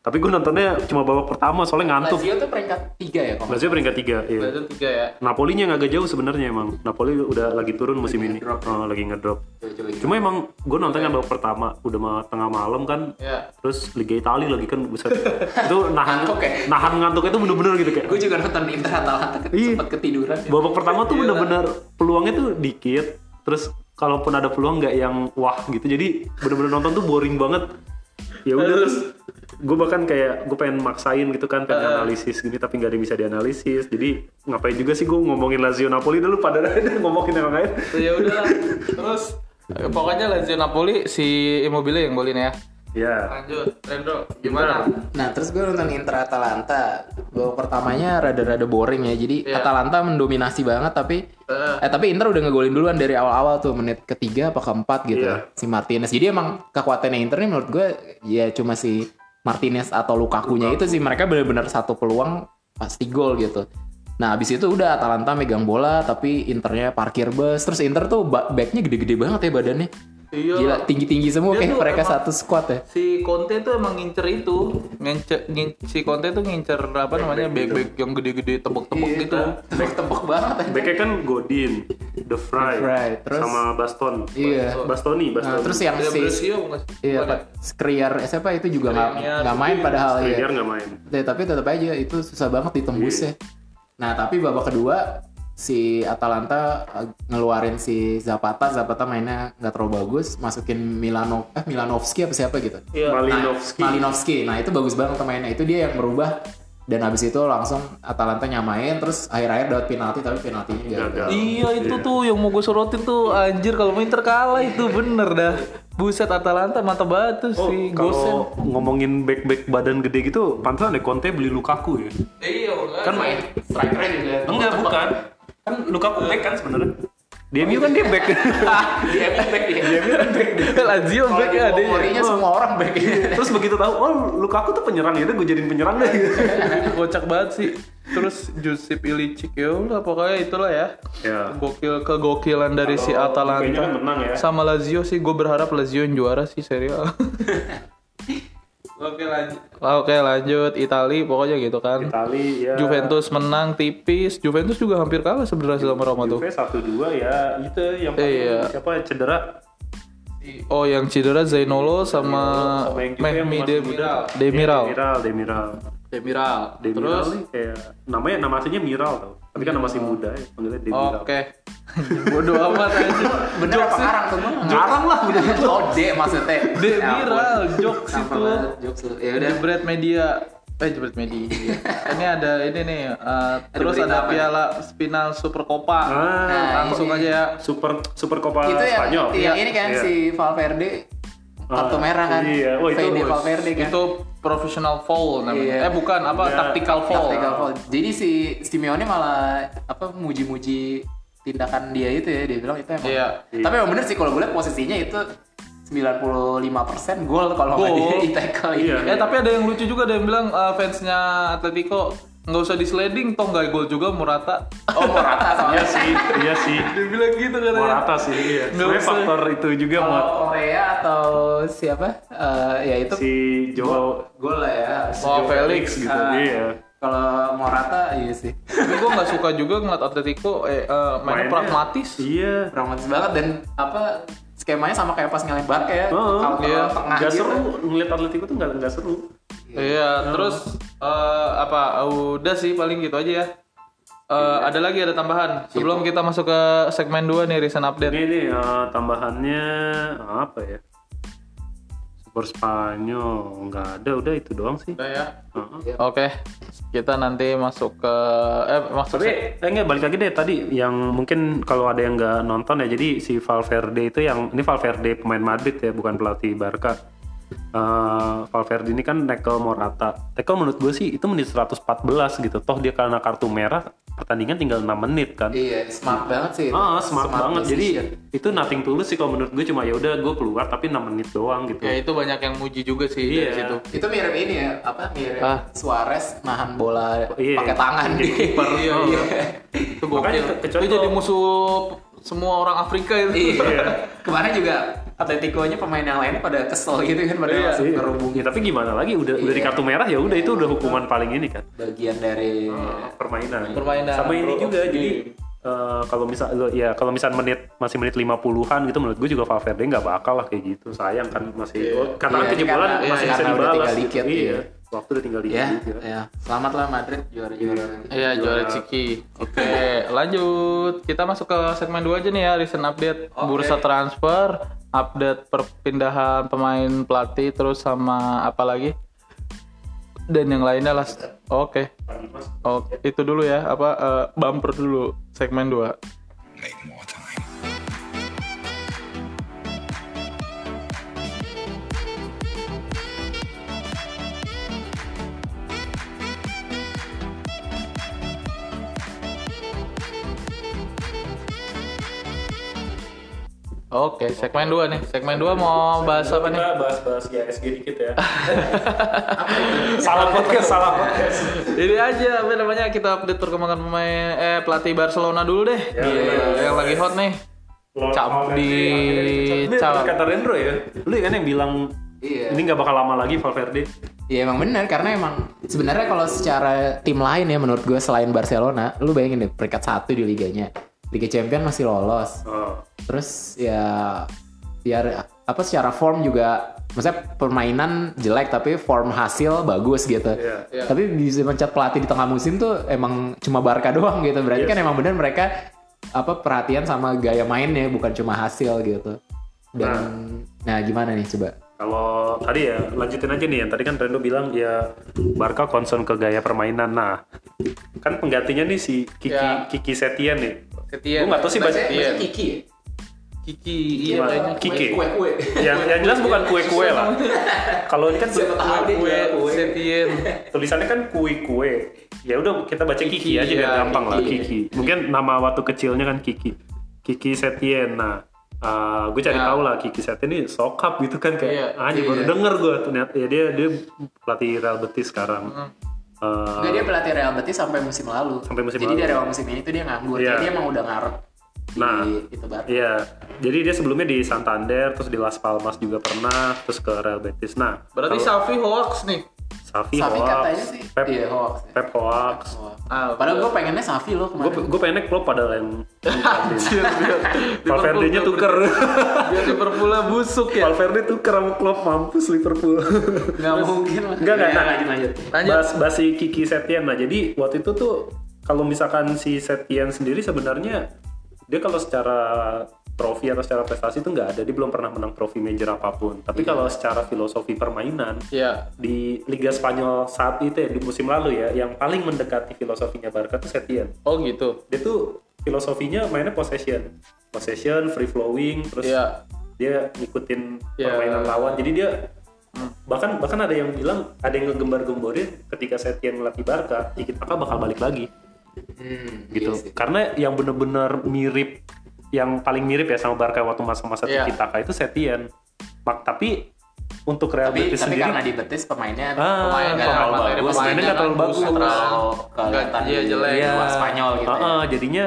Speaker 2: Tapi gue nontonnya cuma babak pertama soalnya ngantuk.
Speaker 5: Lazio tuh peringkat tiga ya kalau nggak
Speaker 2: Lazio peringkat tiga. Iya.
Speaker 1: Lazio tiga ya.
Speaker 2: Napoli nya agak jauh sebenarnya emang. Napoli udah lagi turun musim ini, Oh, lagi ngedrop.
Speaker 5: salah. Coba gini.
Speaker 2: Cuma emang gue nonton yang babak pertama udah mah tengah malam kan.
Speaker 1: Ya.
Speaker 2: Terus Liga Italia lagi kan buset. itu nahan
Speaker 5: Ngantuk ya?
Speaker 2: nahan ngantuknya itu bener-bener gitu kayak.
Speaker 5: Gue juga nonton Inter Atalanta ket-
Speaker 2: Iya.
Speaker 5: sempet ketiduran. ya.
Speaker 2: Babak pertama
Speaker 4: Iya,
Speaker 2: tuh bener-bener peluangnya tuh dikit. Terus kalaupun ada peluang nggak yang wah gitu. Jadi bener-bener nonton tuh boring banget. Ya udah terus gue bahkan kayak gue pengen maksain gitu kan pengen analisis gini tapi nggak ada yang bisa dianalisis jadi ngapain juga sih gue ngomongin Lazio Napoli dulu pada ngomongin yang lain
Speaker 1: Ya udah. Terus eh, pokoknya Lazio Napoli si Immobile yang golin ya.
Speaker 2: ya
Speaker 1: Lanjut, Rendro gimana?
Speaker 4: Nah terus gue nonton Inter Atalanta Babak pertamanya rada-rada boring ya Jadi
Speaker 1: Iya.
Speaker 4: Atalanta mendominasi banget tapi
Speaker 1: Eh.
Speaker 4: Eh tapi Inter udah ngegolin duluan dari awal-awal tuh Menit ketiga apa keempat gitu
Speaker 2: Iya.
Speaker 4: Si Martinez Jadi emang kekuatannya Inter nih menurut gue Ya cuma si Martinez atau Lukaku-nya itu sih Mereka bener-bener satu peluang pasti gol gitu Nah abis itu udah Atalanta megang bola Tapi Internya parkir bus Terus Inter tuh ba- backnya gede-gede banget ya badannya
Speaker 1: Iya.
Speaker 4: Gila tinggi-tinggi semua
Speaker 1: Dia
Speaker 4: kayak
Speaker 1: tuh
Speaker 4: mereka
Speaker 1: emang-
Speaker 4: satu squad ya
Speaker 1: si Conte tuh emang ngincer itu ngincer, ngin- si Conte tuh ngincer apa namanya back-back yang gede-gede tebek-tebek gitu
Speaker 4: Tebak-tebak banget
Speaker 1: eh.
Speaker 4: ya
Speaker 2: Backnya kan Godin, The Fry,
Speaker 4: The Vrij, terus-
Speaker 2: sama Baston.
Speaker 4: Iya.
Speaker 2: Bastoni,
Speaker 4: Nah,
Speaker 2: Bastoni.
Speaker 4: terus yang
Speaker 1: ada
Speaker 4: si
Speaker 1: Brescia bukan
Speaker 4: iya,
Speaker 1: bukan ya?
Speaker 4: Pak, Skriar eh, siapa itu juga nggak
Speaker 1: Skriniar,
Speaker 4: nggak main padahal ya.
Speaker 2: Skriniar nggak main.
Speaker 4: Ya, tapi tetap aja itu susah banget
Speaker 1: Iya.
Speaker 4: ditembus ya. Nah, tapi babak kedua si Atalanta eh, ngeluarin si Zapata, Zapata mainnya nggak terlalu bagus, masukin Milano eh Milanovski apa siapa gitu.
Speaker 1: Iya.
Speaker 2: Malinowski.
Speaker 4: Malinovski. Nah, itu bagus banget mainnya. Itu dia yang merubah dan habis itu langsung Atalanta nyamain terus akhir-akhir dapat penalti tapi penaltinya gagal.
Speaker 2: Gagal.
Speaker 1: Iya itu tuh yang mau gue sorotin tuh anjir kalau main terkalah itu bener dah. Buset Atalanta mata batu
Speaker 2: Oh,
Speaker 1: si Gosen.
Speaker 2: kalau ngomongin back-back badan gede gitu, pantesan deh Conte beli Lukaku ya.
Speaker 1: Iya,
Speaker 2: Kan main
Speaker 4: Strikernya juga.
Speaker 2: enggak bukan. Kan Lukaku back kan sebenarnya. DMU kan dia back.
Speaker 4: Dia back dia.
Speaker 1: Lazio back ya
Speaker 4: Kalau
Speaker 1: adanya.
Speaker 4: di
Speaker 2: oh.
Speaker 4: Mourinho semua orang back.
Speaker 2: terus begitu tahu, oh Lukaku tuh penyerang ya, udah gue jadiin penyerang deh.
Speaker 1: Itu kocak banget sih. Terus Josip Ilicic ya udah pokoknya itulah ya.
Speaker 2: ya.
Speaker 1: Gokil kegokilan dari si Atalanta.
Speaker 2: kayaknya kan menang ya.
Speaker 1: Sama Lazio sih gue berharap Lazio yang juara sih serial. Oke lanjut. Oke lanjut Itali pokoknya gitu kan.
Speaker 2: Itali ya.
Speaker 1: Juventus menang tipis. Juventus juga hampir kalah sebenarnya sama Roma tuh.
Speaker 2: Juve 1-2 ya itu yang paling-
Speaker 1: Iya.
Speaker 2: siapa ya, cedera
Speaker 1: Oh, yang cedera Zainolo sama,
Speaker 2: sama yang Juve yang
Speaker 1: Mehmi
Speaker 2: masih Iya,
Speaker 1: Demiral. Demiral.
Speaker 2: Demiral, Demiral.
Speaker 1: Demiral.
Speaker 2: Demiral nih kayak namanya nama aslinya Miral tau. Tapi kan masih muda ya, panggilnya Demiral.
Speaker 1: Oh, Oke. Bodoh amat aja.
Speaker 4: Bener apa ngarang tuh? Gua nggak Ngarang lah udah. Oh, D maksudnya. Ya
Speaker 1: Demiral jokes
Speaker 5: Sampah
Speaker 1: itu.
Speaker 5: banget, jokes lu. Ya udah.
Speaker 1: Jebret media. Eh jebret media. ini ada ini nih eh, terus
Speaker 5: berita
Speaker 1: ada
Speaker 5: apa
Speaker 1: piala final Super Copa.
Speaker 2: Ah,
Speaker 1: Langsung aja ya.
Speaker 2: Super Super Copa
Speaker 4: Itu yang,
Speaker 2: Spanyol.
Speaker 4: itu yang ini kan
Speaker 2: Iya.
Speaker 4: si Valverde
Speaker 2: Ah,
Speaker 4: kartu merah kan.
Speaker 2: iya. Wah, itu-
Speaker 4: Fede Valverde kan.
Speaker 1: Itu professional foul namanya.
Speaker 4: Iya.
Speaker 1: Eh bukan apa
Speaker 2: Iya.
Speaker 1: tactical foul.
Speaker 4: Tactical foul. Jadi si Simeone malah apa muji-muji tindakan dia itu ya dia bilang itu emang.
Speaker 1: Iya.
Speaker 4: Tapi emang bener sih kalau gue lihat posisinya itu 95% gol kalau nggak
Speaker 1: Gol.
Speaker 4: dia di tackle
Speaker 2: Iya.
Speaker 1: Eh tapi ada yang lucu juga ada yang bilang eh, fansnya Atletico nggak usah di sliding toh nggak gol juga Murata.
Speaker 4: Oh Morata
Speaker 2: Iya
Speaker 4: soalnya.
Speaker 2: sih, iya sih.
Speaker 1: Dia bilang gitu katanya.
Speaker 2: Morata sih, iya.
Speaker 1: Nggak
Speaker 2: Sebenarnya
Speaker 1: usah.
Speaker 2: faktor itu juga buat
Speaker 4: Kalau Korea atau siapa? Eh, ya itu
Speaker 2: si Joao
Speaker 4: gol lah ya.
Speaker 1: Oh Felix.
Speaker 2: Felix gitu.
Speaker 4: Ah.
Speaker 2: Iya.
Speaker 4: Kalau Morata iya sih.
Speaker 1: Tapi gue nggak suka juga ngeliat Atletico eh, eh, mainnya
Speaker 2: Mainnya-
Speaker 1: pragmatis.
Speaker 2: Iya.
Speaker 4: Romantis banget dan apa skemanya sama kayak pas ngalahin Barca ya.
Speaker 2: Oh,
Speaker 4: Kalau
Speaker 1: iya.
Speaker 4: tengah
Speaker 2: Nggak
Speaker 4: gitu.
Speaker 2: seru ngeliat Atletico tuh nggak nggak seru.
Speaker 1: Iya, terus eh, apa? Udah sih paling gitu aja ya. Eh, Ada lagi ada tambahan sebelum kita masuk ke segmen 2 nih recent update.
Speaker 2: Ini nih eh, tambahannya apa ya? Super Spanyol nggak ada, udah itu doang sih.
Speaker 1: Udah ya.
Speaker 2: Heeh.
Speaker 1: Oke, kita nanti masuk ke eh masuk
Speaker 2: Tapi eh, enggak balik lagi deh tadi yang mungkin kalau ada yang nggak nonton ya jadi si Valverde itu yang ini Valverde pemain Madrid ya bukan pelatih Barca. Eh, Valverde ini kan tackle Morata. Tackle menurut gue sih itu menit 114 gitu. Toh dia karena kartu merah pertandingan tinggal 6 menit kan.
Speaker 4: Iya, smart banget sih. itu.
Speaker 2: Ah, smart, banget. Jadi
Speaker 4: decision.
Speaker 2: itu nothing tulus sih kalau menurut gue cuma ya udah gue keluar tapi 6 menit doang gitu.
Speaker 1: Ya itu banyak yang muji juga sih dari
Speaker 2: Iya.
Speaker 1: situ.
Speaker 4: itu mirip ini ya, apa mirip
Speaker 1: Ah.
Speaker 4: Suarez nahan bola
Speaker 2: Iya.
Speaker 4: pakai tangan di
Speaker 2: Kiper.
Speaker 1: Iya,
Speaker 2: Oh.
Speaker 1: iya. Itu gokil.
Speaker 2: Makanya ke- kecuali
Speaker 1: Itu jadi
Speaker 2: kalau-
Speaker 1: Iya.
Speaker 2: Iya.
Speaker 1: musuh semua orang Afrika itu.
Speaker 4: Iya. Kemarin juga Atletico-nya pemain yang lainnya pada kesel gitu kan pada
Speaker 2: Iya.
Speaker 4: masih
Speaker 2: Iya.
Speaker 4: ngerubungin.
Speaker 2: Ya, tapi gimana lagi udah udah di kartu merah ya udah itu udah hukuman paling ini kan.
Speaker 4: Bagian dari
Speaker 2: Eh, permainan.
Speaker 1: Permainan.
Speaker 2: Sama ini
Speaker 1: Pro-
Speaker 2: juga
Speaker 1: of
Speaker 2: jadi
Speaker 1: game.
Speaker 2: eh, kalau misal lo- ya kalau misal menit masih menit 50-an gitu menurut gue juga Valverde nggak bakal lah kayak gitu. Sayang kan masih oh, katakan
Speaker 4: Iya,
Speaker 2: kejebolan
Speaker 4: karena-
Speaker 2: masih
Speaker 4: iya,
Speaker 2: bisa
Speaker 4: karena udah
Speaker 2: dibalas.
Speaker 4: tinggal
Speaker 2: gitu.
Speaker 4: dikit,
Speaker 2: iya.
Speaker 4: iya.
Speaker 2: Waktu udah tinggal dikit. iya.
Speaker 4: ya,
Speaker 2: juga.
Speaker 4: ya. Selamatlah Madrid juara-juara.
Speaker 1: Iya, juara Ciki. Oke, lanjut. Kita masuk ke segmen 2 aja nih ya, recent update bursa transfer, update perpindahan pemain pelatih terus sama apa lagi? Dan yang lainnya lah. Oke. Oke, itu dulu ya, apa eh, bumper dulu segmen 2. Oke, segmen 2 nih. Segmen 2 mau bahas apa nih?
Speaker 2: Kita bahas-bahas ISG dikit ya. salah podcast, salah podcast.
Speaker 1: Ini aja apa namanya kita update perkembangan pemain eh pelatih Barcelona dulu deh.
Speaker 2: Ya,
Speaker 1: Di- yang lagi hot nih. Cap di
Speaker 2: Ini
Speaker 1: cap.
Speaker 2: kata Rendro ya. Lu kan yang bilang
Speaker 4: Iya.
Speaker 2: ini nggak bakal lama lagi Valverde.
Speaker 3: Iya emang benar karena emang sebenarnya kalau secara tim lain ya menurut gue selain Barcelona, lu bayangin deh peringkat satu di liganya, Liga Champions masih lolos.
Speaker 2: Oh.
Speaker 3: Terus ya biar apa secara form juga, maksudnya permainan jelek tapi form hasil bagus gitu.
Speaker 2: Iya.
Speaker 3: Tapi bisa mencat pelatih di tengah musim tuh emang cuma Barca doang gitu. Berarti
Speaker 2: Yes.
Speaker 3: kan emang benar mereka apa perhatian sama gaya mainnya bukan cuma hasil gitu. Dan nah gimana nih coba?
Speaker 2: Kalau tadi ya lanjutin aja nih yang tadi kan Rendo bilang ya Barca concern ke gaya permainan. Nah, kan penggantinya nih si Kiki
Speaker 1: Ya.
Speaker 2: Kiki Setian nih.
Speaker 1: Setian.
Speaker 2: Gua nggak tahu sih baca
Speaker 1: Setian.
Speaker 4: Iya, Kiki. ya.
Speaker 1: Kiki. Iya
Speaker 2: Gimana?
Speaker 1: kayaknya.
Speaker 2: Kiki.
Speaker 4: Kue-kue.
Speaker 2: Yang, yang jelas bukan kue-kue lah. Kalau ini kan
Speaker 4: Siapa tahu dia
Speaker 1: Kue
Speaker 4: juara kue.
Speaker 1: Setien.
Speaker 2: tulisannya kan kue-kue. Ya udah kita baca Kiki,
Speaker 1: Kiki,
Speaker 2: aja biar
Speaker 1: ya,
Speaker 2: gampang lah
Speaker 1: Kiki.
Speaker 2: Kiki. Mungkin nama waktu kecilnya kan Kiki. Kiki Setien. Nah, eh, gue cari
Speaker 1: Ya.
Speaker 2: tahu lah Kiki Setien ini sokap gitu kan kayak
Speaker 1: Iya,
Speaker 2: anjir baru
Speaker 1: iya.
Speaker 2: denger gue ternyata ya dia dia pelatih Real Betis sekarang.
Speaker 1: Hmm.
Speaker 2: Eh,
Speaker 4: Enggak dia pelatih Real Betis sampai musim lalu.
Speaker 2: Sampai musim
Speaker 4: Jadi
Speaker 2: lalu.
Speaker 4: dari awal musim ini tuh dia nganggur.
Speaker 2: Iya.
Speaker 4: Jadi dia emang udah ngarep.
Speaker 2: Nah.
Speaker 4: di itu baru.
Speaker 2: Iya, jadi dia sebelumnya di Santander, terus di Las Palmas juga pernah, terus ke Real Betis. Nah,
Speaker 1: Berarti
Speaker 2: kalau
Speaker 1: Safi hoax nih.
Speaker 2: Safi,
Speaker 4: Safi
Speaker 2: hoax,
Speaker 4: katanya sih.
Speaker 2: Pep,
Speaker 4: Iya, hoax.
Speaker 2: Pep hoax.
Speaker 4: Hoax.
Speaker 1: Ah,
Speaker 4: Padahal gue pengennya Safi loh
Speaker 2: Gue
Speaker 4: kemarin.
Speaker 2: gue pengen klub pada yang
Speaker 1: Anjir, biar-
Speaker 2: Iya, Valverde-nya
Speaker 1: Liverpool
Speaker 2: tuker.
Speaker 1: Biar Liverpool busuk ya.
Speaker 2: Valverde tuh sama klub mampus Liverpool.
Speaker 4: Nggak mungkin lah.
Speaker 2: Enggak enggak.
Speaker 4: Ya,
Speaker 2: Nah,
Speaker 4: Lanjut lanjut.
Speaker 1: Lanjut.
Speaker 2: Bahas, bahas si Kiki Setien. Nah, jadi waktu itu tuh kalau misalkan si Setien sendiri sebenarnya dia kalau secara trofi atau secara prestasi itu nggak ada, dia belum pernah menang trofi major apapun. Tapi kalau secara filosofi permainan,
Speaker 1: Iya.
Speaker 2: di Liga Spanyol saat itu ya di musim lalu ya yang paling mendekati filosofinya Barca tuh Setien
Speaker 1: Oh gitu.
Speaker 2: dia tuh filosofinya mainnya possession possession free flowing terus
Speaker 1: Iya.
Speaker 2: dia ngikutin
Speaker 1: Iya. Hmm.
Speaker 2: permainan lawan jadi dia bahkan bahkan ada yang bilang ada yang ngegembar-gemborin ketika Setien melatih Barca Tiki Taka bakal balik lagi
Speaker 4: Hmm,
Speaker 2: gitu
Speaker 4: iya sih.
Speaker 2: karena yang bener-bener mirip yang paling mirip ya sama Barca waktu masa-masa
Speaker 1: Iya.
Speaker 2: Tiki Taka itu Setien Mak, tapi untuk Real
Speaker 4: Tapi,
Speaker 2: Betis
Speaker 4: tapi
Speaker 2: sendiri
Speaker 4: karena di Betis pemainnya
Speaker 2: Ah,
Speaker 4: pemain nggak terlalu
Speaker 1: pemain-
Speaker 4: bagus.
Speaker 2: pemainnya nggak terlalu
Speaker 4: Nggak
Speaker 2: bagus.
Speaker 4: terlalu
Speaker 1: Nggak,
Speaker 4: kelihatan
Speaker 1: iya,
Speaker 4: di
Speaker 1: jelek.
Speaker 2: Iya.
Speaker 4: luar Spanyol gitu ya.
Speaker 2: Heeh, jadinya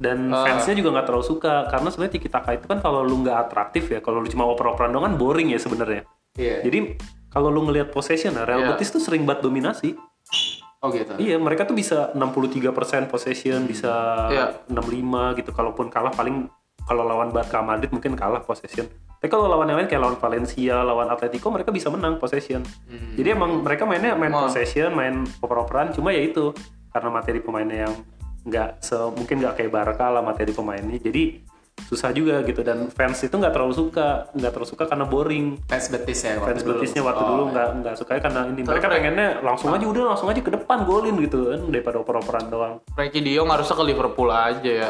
Speaker 2: dan
Speaker 1: Ah.
Speaker 2: fansnya juga nggak terlalu suka karena sebenarnya Tiki Taka itu kan kalau lu nggak atraktif ya kalau lu cuma oper-operan doang kan boring ya sebenarnya
Speaker 4: Iya.
Speaker 2: jadi kalau lu ngelihat possession nah, Real
Speaker 1: Iya.
Speaker 2: Betis tuh sering banget dominasi
Speaker 4: Oh gitu.
Speaker 2: iya mereka tuh bisa 63% possession bisa
Speaker 1: Iya.
Speaker 2: 65 gitu kalaupun kalah paling kalau lawan Barca Madrid mungkin kalah possession tapi kalau lawan yang lain kayak lawan Valencia lawan Atletico mereka bisa menang possession
Speaker 4: Hmm.
Speaker 2: jadi emang mereka mainnya main
Speaker 1: Emang.
Speaker 2: possession, main oper-operan, cuma ya itu karena materi pemainnya yang nggak se mungkin nggak kayak Barca lah materi pemainnya. Jadi susah juga gitu dan fans itu nggak terlalu suka, nggak terlalu suka karena boring.
Speaker 4: Fans Betis ya. waktu
Speaker 2: Fans
Speaker 4: dulu.
Speaker 2: Betisnya waktu
Speaker 4: Oh,
Speaker 2: dulu
Speaker 4: iya.
Speaker 2: nggak nggak suka ya, karena ini mereka
Speaker 1: Terus,
Speaker 2: pengennya langsung aja udah langsung aja ke depan golin gitu kan daripada oper-operan doang.
Speaker 1: Frankie De Jong harusnya ke Liverpool aja ya.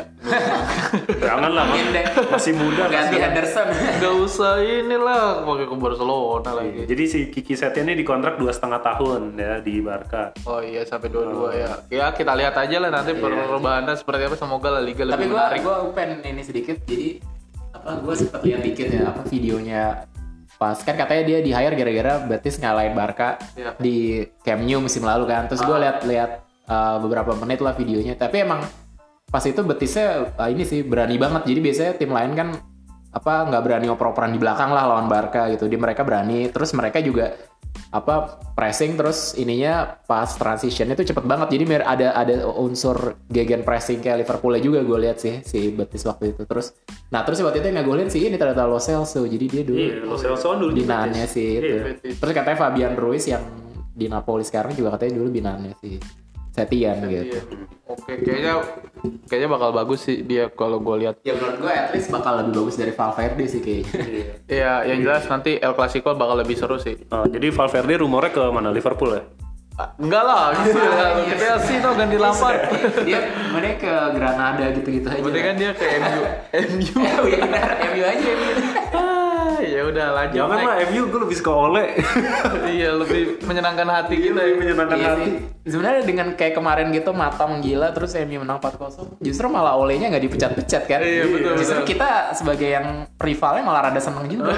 Speaker 2: Jangan lah, Mas.
Speaker 4: deh.
Speaker 2: masih muda
Speaker 4: Ganti
Speaker 2: kan.
Speaker 4: Henderson.
Speaker 1: Gak usah inilah pakai ke Barcelona lagi.
Speaker 2: Jadi si Kiki Setien ini dikontrak dua setengah tahun ya di Barca.
Speaker 1: Oh iya sampai dua-dua ya. Ya kita lihat aja lah nanti perubahannya seperti apa. Semoga La Liga
Speaker 4: Tapi
Speaker 1: lebih
Speaker 4: gue
Speaker 1: menarik.
Speaker 4: gue pengen ini sedikit. Jadi apa gue sempet lihat dikit ya apa
Speaker 3: videonya pas kan katanya dia di hire gara-gara Betis ngalahin Barca
Speaker 1: Iya. Ah.
Speaker 3: di Camp Nou musim lalu kan terus gue lihat-lihat uh, beberapa menit lah videonya tapi emang pas itu Betisnya uh, ini sih berani banget jadi biasanya tim lain kan
Speaker 4: apa nggak berani oper-operan di belakang lah lawan Barca gitu. Di mereka berani, terus mereka juga apa pressing terus ininya pas transitionnya tuh cepet banget jadi mir- ada ada unsur gegen pressing kayak Liverpool juga gue lihat sih si Betis waktu itu terus nah terus waktu itu yang ngegolin sih ini ternyata Lo Celso jadi dia dulu
Speaker 2: Iya, Lo Celso dulu di
Speaker 4: binaannya
Speaker 2: Betis.
Speaker 4: sih
Speaker 2: Iya,
Speaker 4: itu.
Speaker 2: Betis.
Speaker 4: Terus katanya Fabian Ruiz yang di Napoli sekarang juga katanya dulu binaannya sih Setian gitu.
Speaker 1: Iya. Oke, kayaknya kayaknya bakal bagus sih dia kalau gue lihat.
Speaker 4: Ya menurut gue at least bakal lebih bagus dari Valverde sih kayaknya.
Speaker 1: Iya, yang jelas nanti El Clasico bakal lebih seru sih.
Speaker 2: Oh, jadi Valverde rumornya ke mana? Liverpool ya?
Speaker 1: Ah, Enggak lah, gitu ya. Ke Chelsea tau ganti Lampard.
Speaker 4: dia mana ke Granada gitu-gitu aja.
Speaker 1: Berarti kan dia ke MU. MU.
Speaker 4: Oh iya benar, MU aja.
Speaker 1: Iya Ah, ya udah lanjut.
Speaker 2: Jangan
Speaker 1: Nek.
Speaker 2: lah, MU gue lebih suka Ole.
Speaker 1: iya, lebih menyenangkan hati kita. ya.
Speaker 2: Menyenangkan
Speaker 4: Iya
Speaker 2: hati.
Speaker 4: sih. Sebenarnya dengan kayak kemarin gitu matang gila terus MU menang 4-0, justru malah olehnya nggak dipecat-pecat kan?
Speaker 1: Iya, betul,
Speaker 4: Justru
Speaker 1: betul.
Speaker 4: kita sebagai yang rivalnya malah rada seneng juga.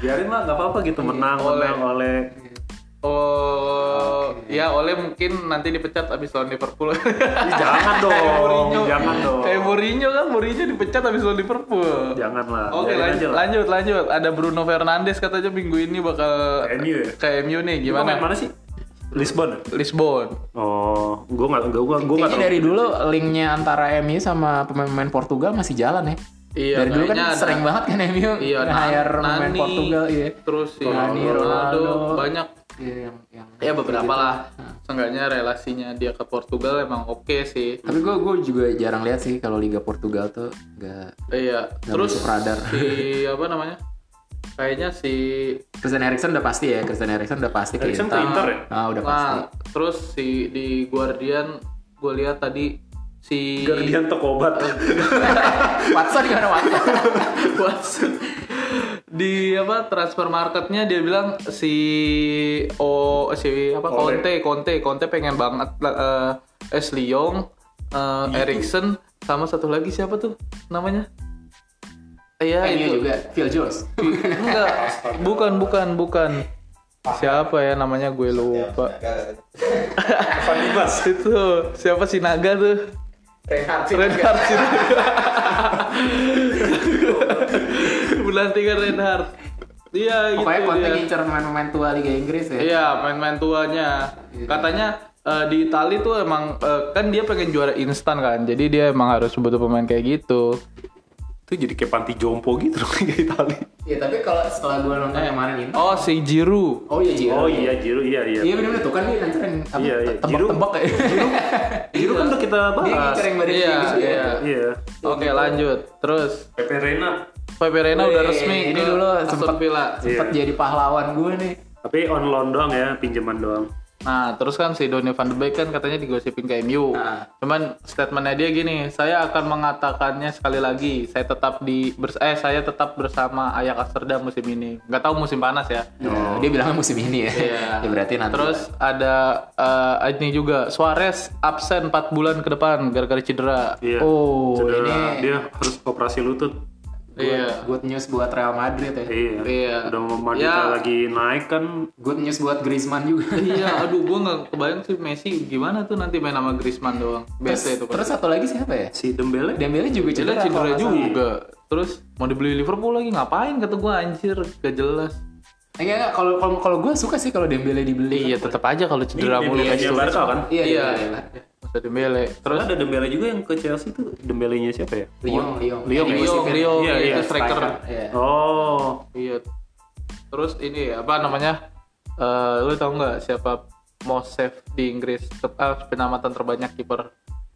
Speaker 2: Biarin lah, nggak apa-apa gitu. Menang,
Speaker 1: Ole.
Speaker 2: menang Ole.
Speaker 1: Oh, ya oleh mungkin nanti dipecat abis lawan Liverpool.
Speaker 2: Ih, Jangan dong,
Speaker 1: Eh, Mourinho.
Speaker 2: jangan dong.
Speaker 1: Kayak Mourinho kan, Mourinho dipecat habis lawan Liverpool.
Speaker 2: Jangan lah.
Speaker 1: Oke,
Speaker 2: biarin
Speaker 1: lanjut,
Speaker 2: aja Iya, lah.
Speaker 1: lanjut, lanjut. Ada Bruno Fernandes katanya minggu ini bakal
Speaker 2: Ke MU ya?
Speaker 1: ke MU nih.
Speaker 2: Lu main
Speaker 1: Gimana?
Speaker 2: mana sih? Lisbon. ya?
Speaker 1: Lisbon.
Speaker 2: Oh, gue nggak, gue nggak, gue nggak
Speaker 4: Kayaknya
Speaker 2: terlalu-
Speaker 4: dari dulu linknya antara MU sama pemain-pemain Portugal masih jalan ya.
Speaker 1: Iya,
Speaker 4: dari dulu kan
Speaker 1: kayaknya ada.
Speaker 4: sering banget kan MU
Speaker 1: Iya,
Speaker 4: nge-hire
Speaker 1: Nan-
Speaker 4: pemain
Speaker 1: Nani.
Speaker 4: Portugal, iya.
Speaker 1: Terus si
Speaker 4: Nani,
Speaker 1: Ronaldo,
Speaker 4: Ronaldo.
Speaker 1: banyak.
Speaker 4: Iya, yang, yang-
Speaker 1: Ya beberapa lah. Seenggaknya relasinya dia ke Portugal emang oke sih.
Speaker 4: Tapi gue gue juga jarang lihat sih kalau Liga Portugal tuh nggak
Speaker 1: Iya. Terus
Speaker 4: masuk radar.
Speaker 1: si apa namanya? Kayaknya si
Speaker 4: Christian Eriksen udah pasti ya, Christian Eriksen udah pasti ke
Speaker 2: Eriksen
Speaker 4: Inter.
Speaker 2: ke Inter ya?
Speaker 4: Ah, udah pasti.
Speaker 1: nah, terus si di Guardian gue lihat tadi si
Speaker 2: Guardian toko obat.
Speaker 4: Watson gimana Watson?
Speaker 1: Watson. di apa transfer marketnya dia bilang si o si apa Conte
Speaker 2: Conte.
Speaker 1: Conte Conte pengen banget eh, Ashley Young, eh, Eriksen sama satu lagi siapa tuh namanya? Iya
Speaker 4: MU
Speaker 1: itu.
Speaker 4: juga, Phil Jones.
Speaker 1: Enggak, bukan bukan bukan. Siapa ya namanya gue lupa.
Speaker 2: Van Dibas.
Speaker 1: itu siapa si naga tuh?
Speaker 4: Reinhardt
Speaker 1: Reinhardt sih. Bulan tiga Reinhardt. Iya gitu.
Speaker 4: Pokoknya konten
Speaker 1: dia.
Speaker 4: ngincer pemain-pemain tua Liga Inggris ya. Iya.
Speaker 1: Iya, main-main tuanya. Katanya eh, di Itali tuh emang eh, kan dia pengen juara instan kan. Jadi dia emang harus butuh pemain kayak gitu.
Speaker 2: Itu jadi kayak panti jompo gitu loh kayak Itali.
Speaker 4: Iya, tapi kalau setelah gue nonton yang kemarin ini,
Speaker 1: Oh, si Jiru.
Speaker 4: Eh. oh iya Jiro.
Speaker 2: Oh iya, Jiru, iya iya.
Speaker 4: Iya bener-bener tuh kan dia ngincer yang apa,
Speaker 2: Iya, iya.
Speaker 4: tebak-tebak ya.
Speaker 2: Jiru kan udah kita
Speaker 4: Dia
Speaker 2: bahas.
Speaker 4: ngincer yang badan
Speaker 1: Iya,
Speaker 4: tinggi juga.
Speaker 1: iya.
Speaker 2: Iya.
Speaker 1: Oke, lanjut. Terus
Speaker 2: Pepe Reina.
Speaker 1: Pepe Reina udah
Speaker 4: Wih,
Speaker 1: resmi
Speaker 4: ini
Speaker 1: ke
Speaker 4: dulu
Speaker 1: Aston
Speaker 4: sempet-
Speaker 1: Villa. Iya.
Speaker 4: Sempet jadi pahlawan gue nih.
Speaker 2: Tapi on loan doang ya, pinjaman doang.
Speaker 1: Nah, terus kan si Donny van de Beek kan katanya digosipin ke MU.
Speaker 4: Nah.
Speaker 1: Cuman statementnya dia gini, saya akan mengatakannya sekali lagi, saya tetap di bers- eh saya tetap bersama Ajax Amsterdam musim ini. Nggak tahu musim panas ya.
Speaker 4: Nah, Dia bilangnya musim ini ya. ya berarti
Speaker 1: Iya.
Speaker 4: nanti.
Speaker 1: Terus ada eh, ini juga Suarez absen 4 bulan ke depan gara-gara cedera.
Speaker 2: Iya.
Speaker 4: Oh,
Speaker 2: Cedera,
Speaker 4: ini-
Speaker 2: dia harus operasi lutut.
Speaker 1: Iya.
Speaker 4: good news buat Real Madrid ya.
Speaker 2: Iya.
Speaker 1: Iya.
Speaker 2: Udah memandu
Speaker 1: Ya.
Speaker 2: lagi naik kan.
Speaker 4: Good news buat Griezmann juga.
Speaker 1: Iya, aduh gua nggak kebayang sih Messi gimana tuh nanti main sama Griezmann doang. Bete itu.
Speaker 4: Terus satu lagi siapa ya?
Speaker 2: Si Dembele.
Speaker 4: Dembele juga
Speaker 1: Cedera
Speaker 4: cedera.
Speaker 1: cedera
Speaker 4: kalau nggak
Speaker 1: juga. Terus mau dibeli Liverpool lagi ngapain kata gua anjir gak jelas.
Speaker 4: salah. Enggak enggak kalau kalau kalau gue suka sih kalau Dembele dibeli.
Speaker 1: Iya tetap aja kalau cedera mulu
Speaker 2: Dembele
Speaker 1: kayak
Speaker 2: nya
Speaker 1: gitu.
Speaker 2: Barca kan.
Speaker 4: Iya iya. iya.
Speaker 1: Masa Dembele. Terus
Speaker 2: Terus ada Dembele juga yang ke Chelsea tuh. Dembelenya siapa ya?
Speaker 4: Lyon Lyon.
Speaker 1: Leo, kan? Leo,
Speaker 2: Iya, iya,
Speaker 1: itu striker.
Speaker 4: Iya.
Speaker 2: Oh,
Speaker 1: Iya. Terus ini apa namanya? Eh lu tau nggak siapa most save di Inggris Tep- ah, penamatan terbanyak kiper?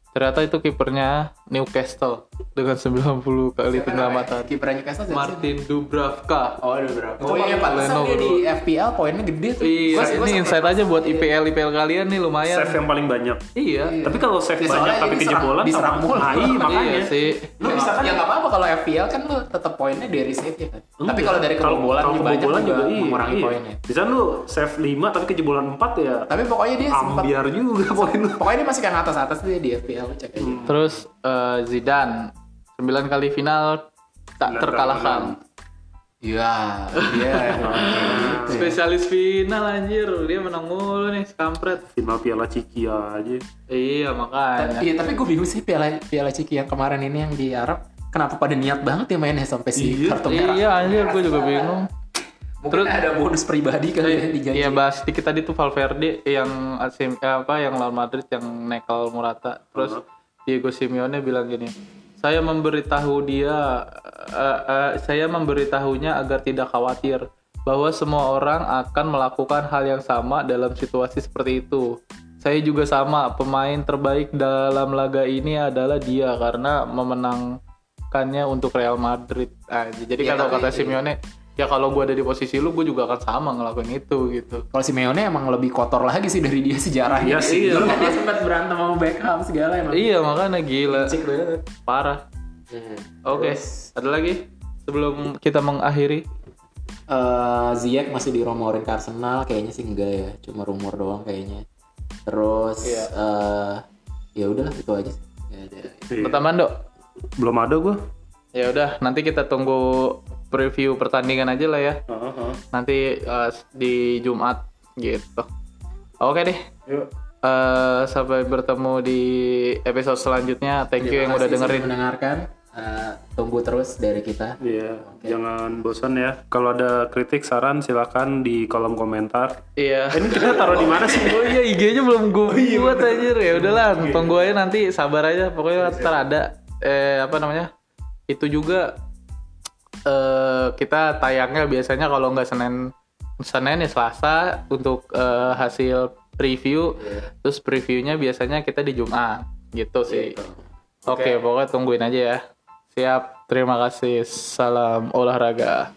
Speaker 1: Ternyata itu kipernya Newcastle dengan 90 kali penyelamatan.
Speaker 4: Kiper Newcastle siapa sih?
Speaker 1: Martin Dubravka.
Speaker 4: Oh, udah berapa?
Speaker 1: Itu
Speaker 4: Oh iya,
Speaker 1: Martin
Speaker 4: pantesan
Speaker 1: Leno
Speaker 4: dia di
Speaker 1: dulu.
Speaker 4: FPL poinnya gede tuh.
Speaker 1: Iya,
Speaker 4: Gua sih- gua
Speaker 1: ini
Speaker 4: sampai-
Speaker 1: insight aja buat IPL IPL kalian nih lumayan.
Speaker 2: save yang paling banyak.
Speaker 1: Iya.
Speaker 2: Tapi kalau save
Speaker 4: Ya,
Speaker 2: banyak
Speaker 4: soalnya
Speaker 2: tapi
Speaker 4: ini diserang-
Speaker 2: kejebolan
Speaker 4: diserang
Speaker 2: sama.
Speaker 4: mulu.
Speaker 2: Nah, iya, makanya.
Speaker 1: Iya sih.
Speaker 4: Lu bisa
Speaker 2: iya.
Speaker 4: kan ya nggak apa-apa kalau FPL kan lu tetap poinnya dari save ya kan. Tapi
Speaker 2: Enggak.
Speaker 4: kalau dari
Speaker 2: Iya. Kalau-
Speaker 4: kebobolan
Speaker 2: kalau
Speaker 4: lebih banyak
Speaker 2: kebobolan
Speaker 4: juga
Speaker 2: iya,
Speaker 4: mengurangi
Speaker 2: iya.
Speaker 4: poinnya.
Speaker 2: Bisa lu save 5 tapi kejebolan 4 ya.
Speaker 4: Tapi pokoknya dia sempat
Speaker 2: Ambiar juga poin lu.
Speaker 4: pokoknya dia masih kan atas-atas dia di FPL lu cek
Speaker 2: Hmm.
Speaker 4: aja.
Speaker 1: Terus eh, Zidane 9 kali final tak
Speaker 2: Sembilan
Speaker 1: terkalahkan.
Speaker 4: Iya, iya.
Speaker 1: Iya. Spesialis final anjir, dia menang mulu nih kampret.
Speaker 2: Final Piala Ciki aja.
Speaker 1: Iya makanya.
Speaker 4: Iya, tapi gue bingung sih piala piala Ciki yang kemarin ini yang di Arab kenapa pada niat banget ya mainnya sampai si
Speaker 2: Iya.
Speaker 4: kartu merah?
Speaker 1: Iya anjir gue juga bingung.
Speaker 4: Mungkin ada bonus pribadi kali ya dijanji.
Speaker 1: Iya bahas sedikit tadi tuh Valverde yang asim, eh, apa yang lawan Madrid yang nekel Murata. Terus Diego Simeone bilang gini, saya memberitahu dia, eh, eh, saya memberitahunya agar tidak khawatir bahwa semua orang akan melakukan hal yang sama dalam situasi seperti itu. Saya juga sama, pemain terbaik dalam laga ini adalah dia karena memenangkannya untuk Real Madrid. Ah, jadi
Speaker 3: Iya,
Speaker 1: kalau
Speaker 3: tapi-
Speaker 1: kata Simeone, ya kalau gue ada di posisi lu, gue juga akan sama ngelakuin itu gitu.
Speaker 4: Kalau Simeone emang lebih kotor lagi sih dari dia
Speaker 2: Iya
Speaker 4: sejarahnya.
Speaker 2: sih,
Speaker 4: Dulu kan dia sempat berantem sama Beckham segala emang.
Speaker 1: Iya makanya gila,
Speaker 4: Cik banget.
Speaker 1: parah. Hmm. Oke, ada lagi sebelum kita mengakhiri.
Speaker 4: Eh, Ziyech masih dirumorin ke Arsenal kayaknya sih enggak ya cuma rumor doang kayaknya terus
Speaker 1: Iya.
Speaker 4: eh, ya udahlah itu aja sih Nggak ada.
Speaker 1: Pertama, Dok.
Speaker 2: Iya. Belum ada gue.
Speaker 1: Ya udah, nanti kita tunggu preview pertandingan aja lah ya. Nanti eh, di Jumat gitu. Oke deh.
Speaker 2: Yuk.
Speaker 1: Eh, sampai bertemu di episode selanjutnya. Thank you yang udah
Speaker 4: Terima kasih sudah
Speaker 1: dengerin.
Speaker 4: mendengarkan Eh, tunggu terus dari kita
Speaker 2: Iya, jangan bosan ya. Kalau ada kritik, saran silakan di kolom komentar. Eh,
Speaker 1: Iya.
Speaker 2: Ini kita taruh di mana sih?
Speaker 1: Oh iya IG-nya belum gue buat anjir. Ya udahlah, tunggu aja nanti sabar aja. Pokoknya ntar ada eh apa namanya? Itu juga eh kita tayangnya biasanya kalau nggak Senin Senin ya Selasa untuk eh, hasil preview. Terus previewnya biasanya kita di Jumat gitu sih. Oke, pokoknya tungguin aja ya. Siap. Terima kasih. Salam olahraga.